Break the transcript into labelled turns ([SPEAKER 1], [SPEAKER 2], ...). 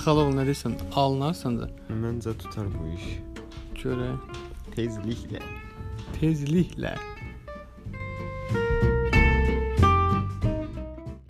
[SPEAKER 1] Xala oğlum nə deyirsən? Alınarsan da.
[SPEAKER 2] Məncə tutar bu iş.
[SPEAKER 1] Görək.
[SPEAKER 2] Tezliklə.
[SPEAKER 1] Tezliklə.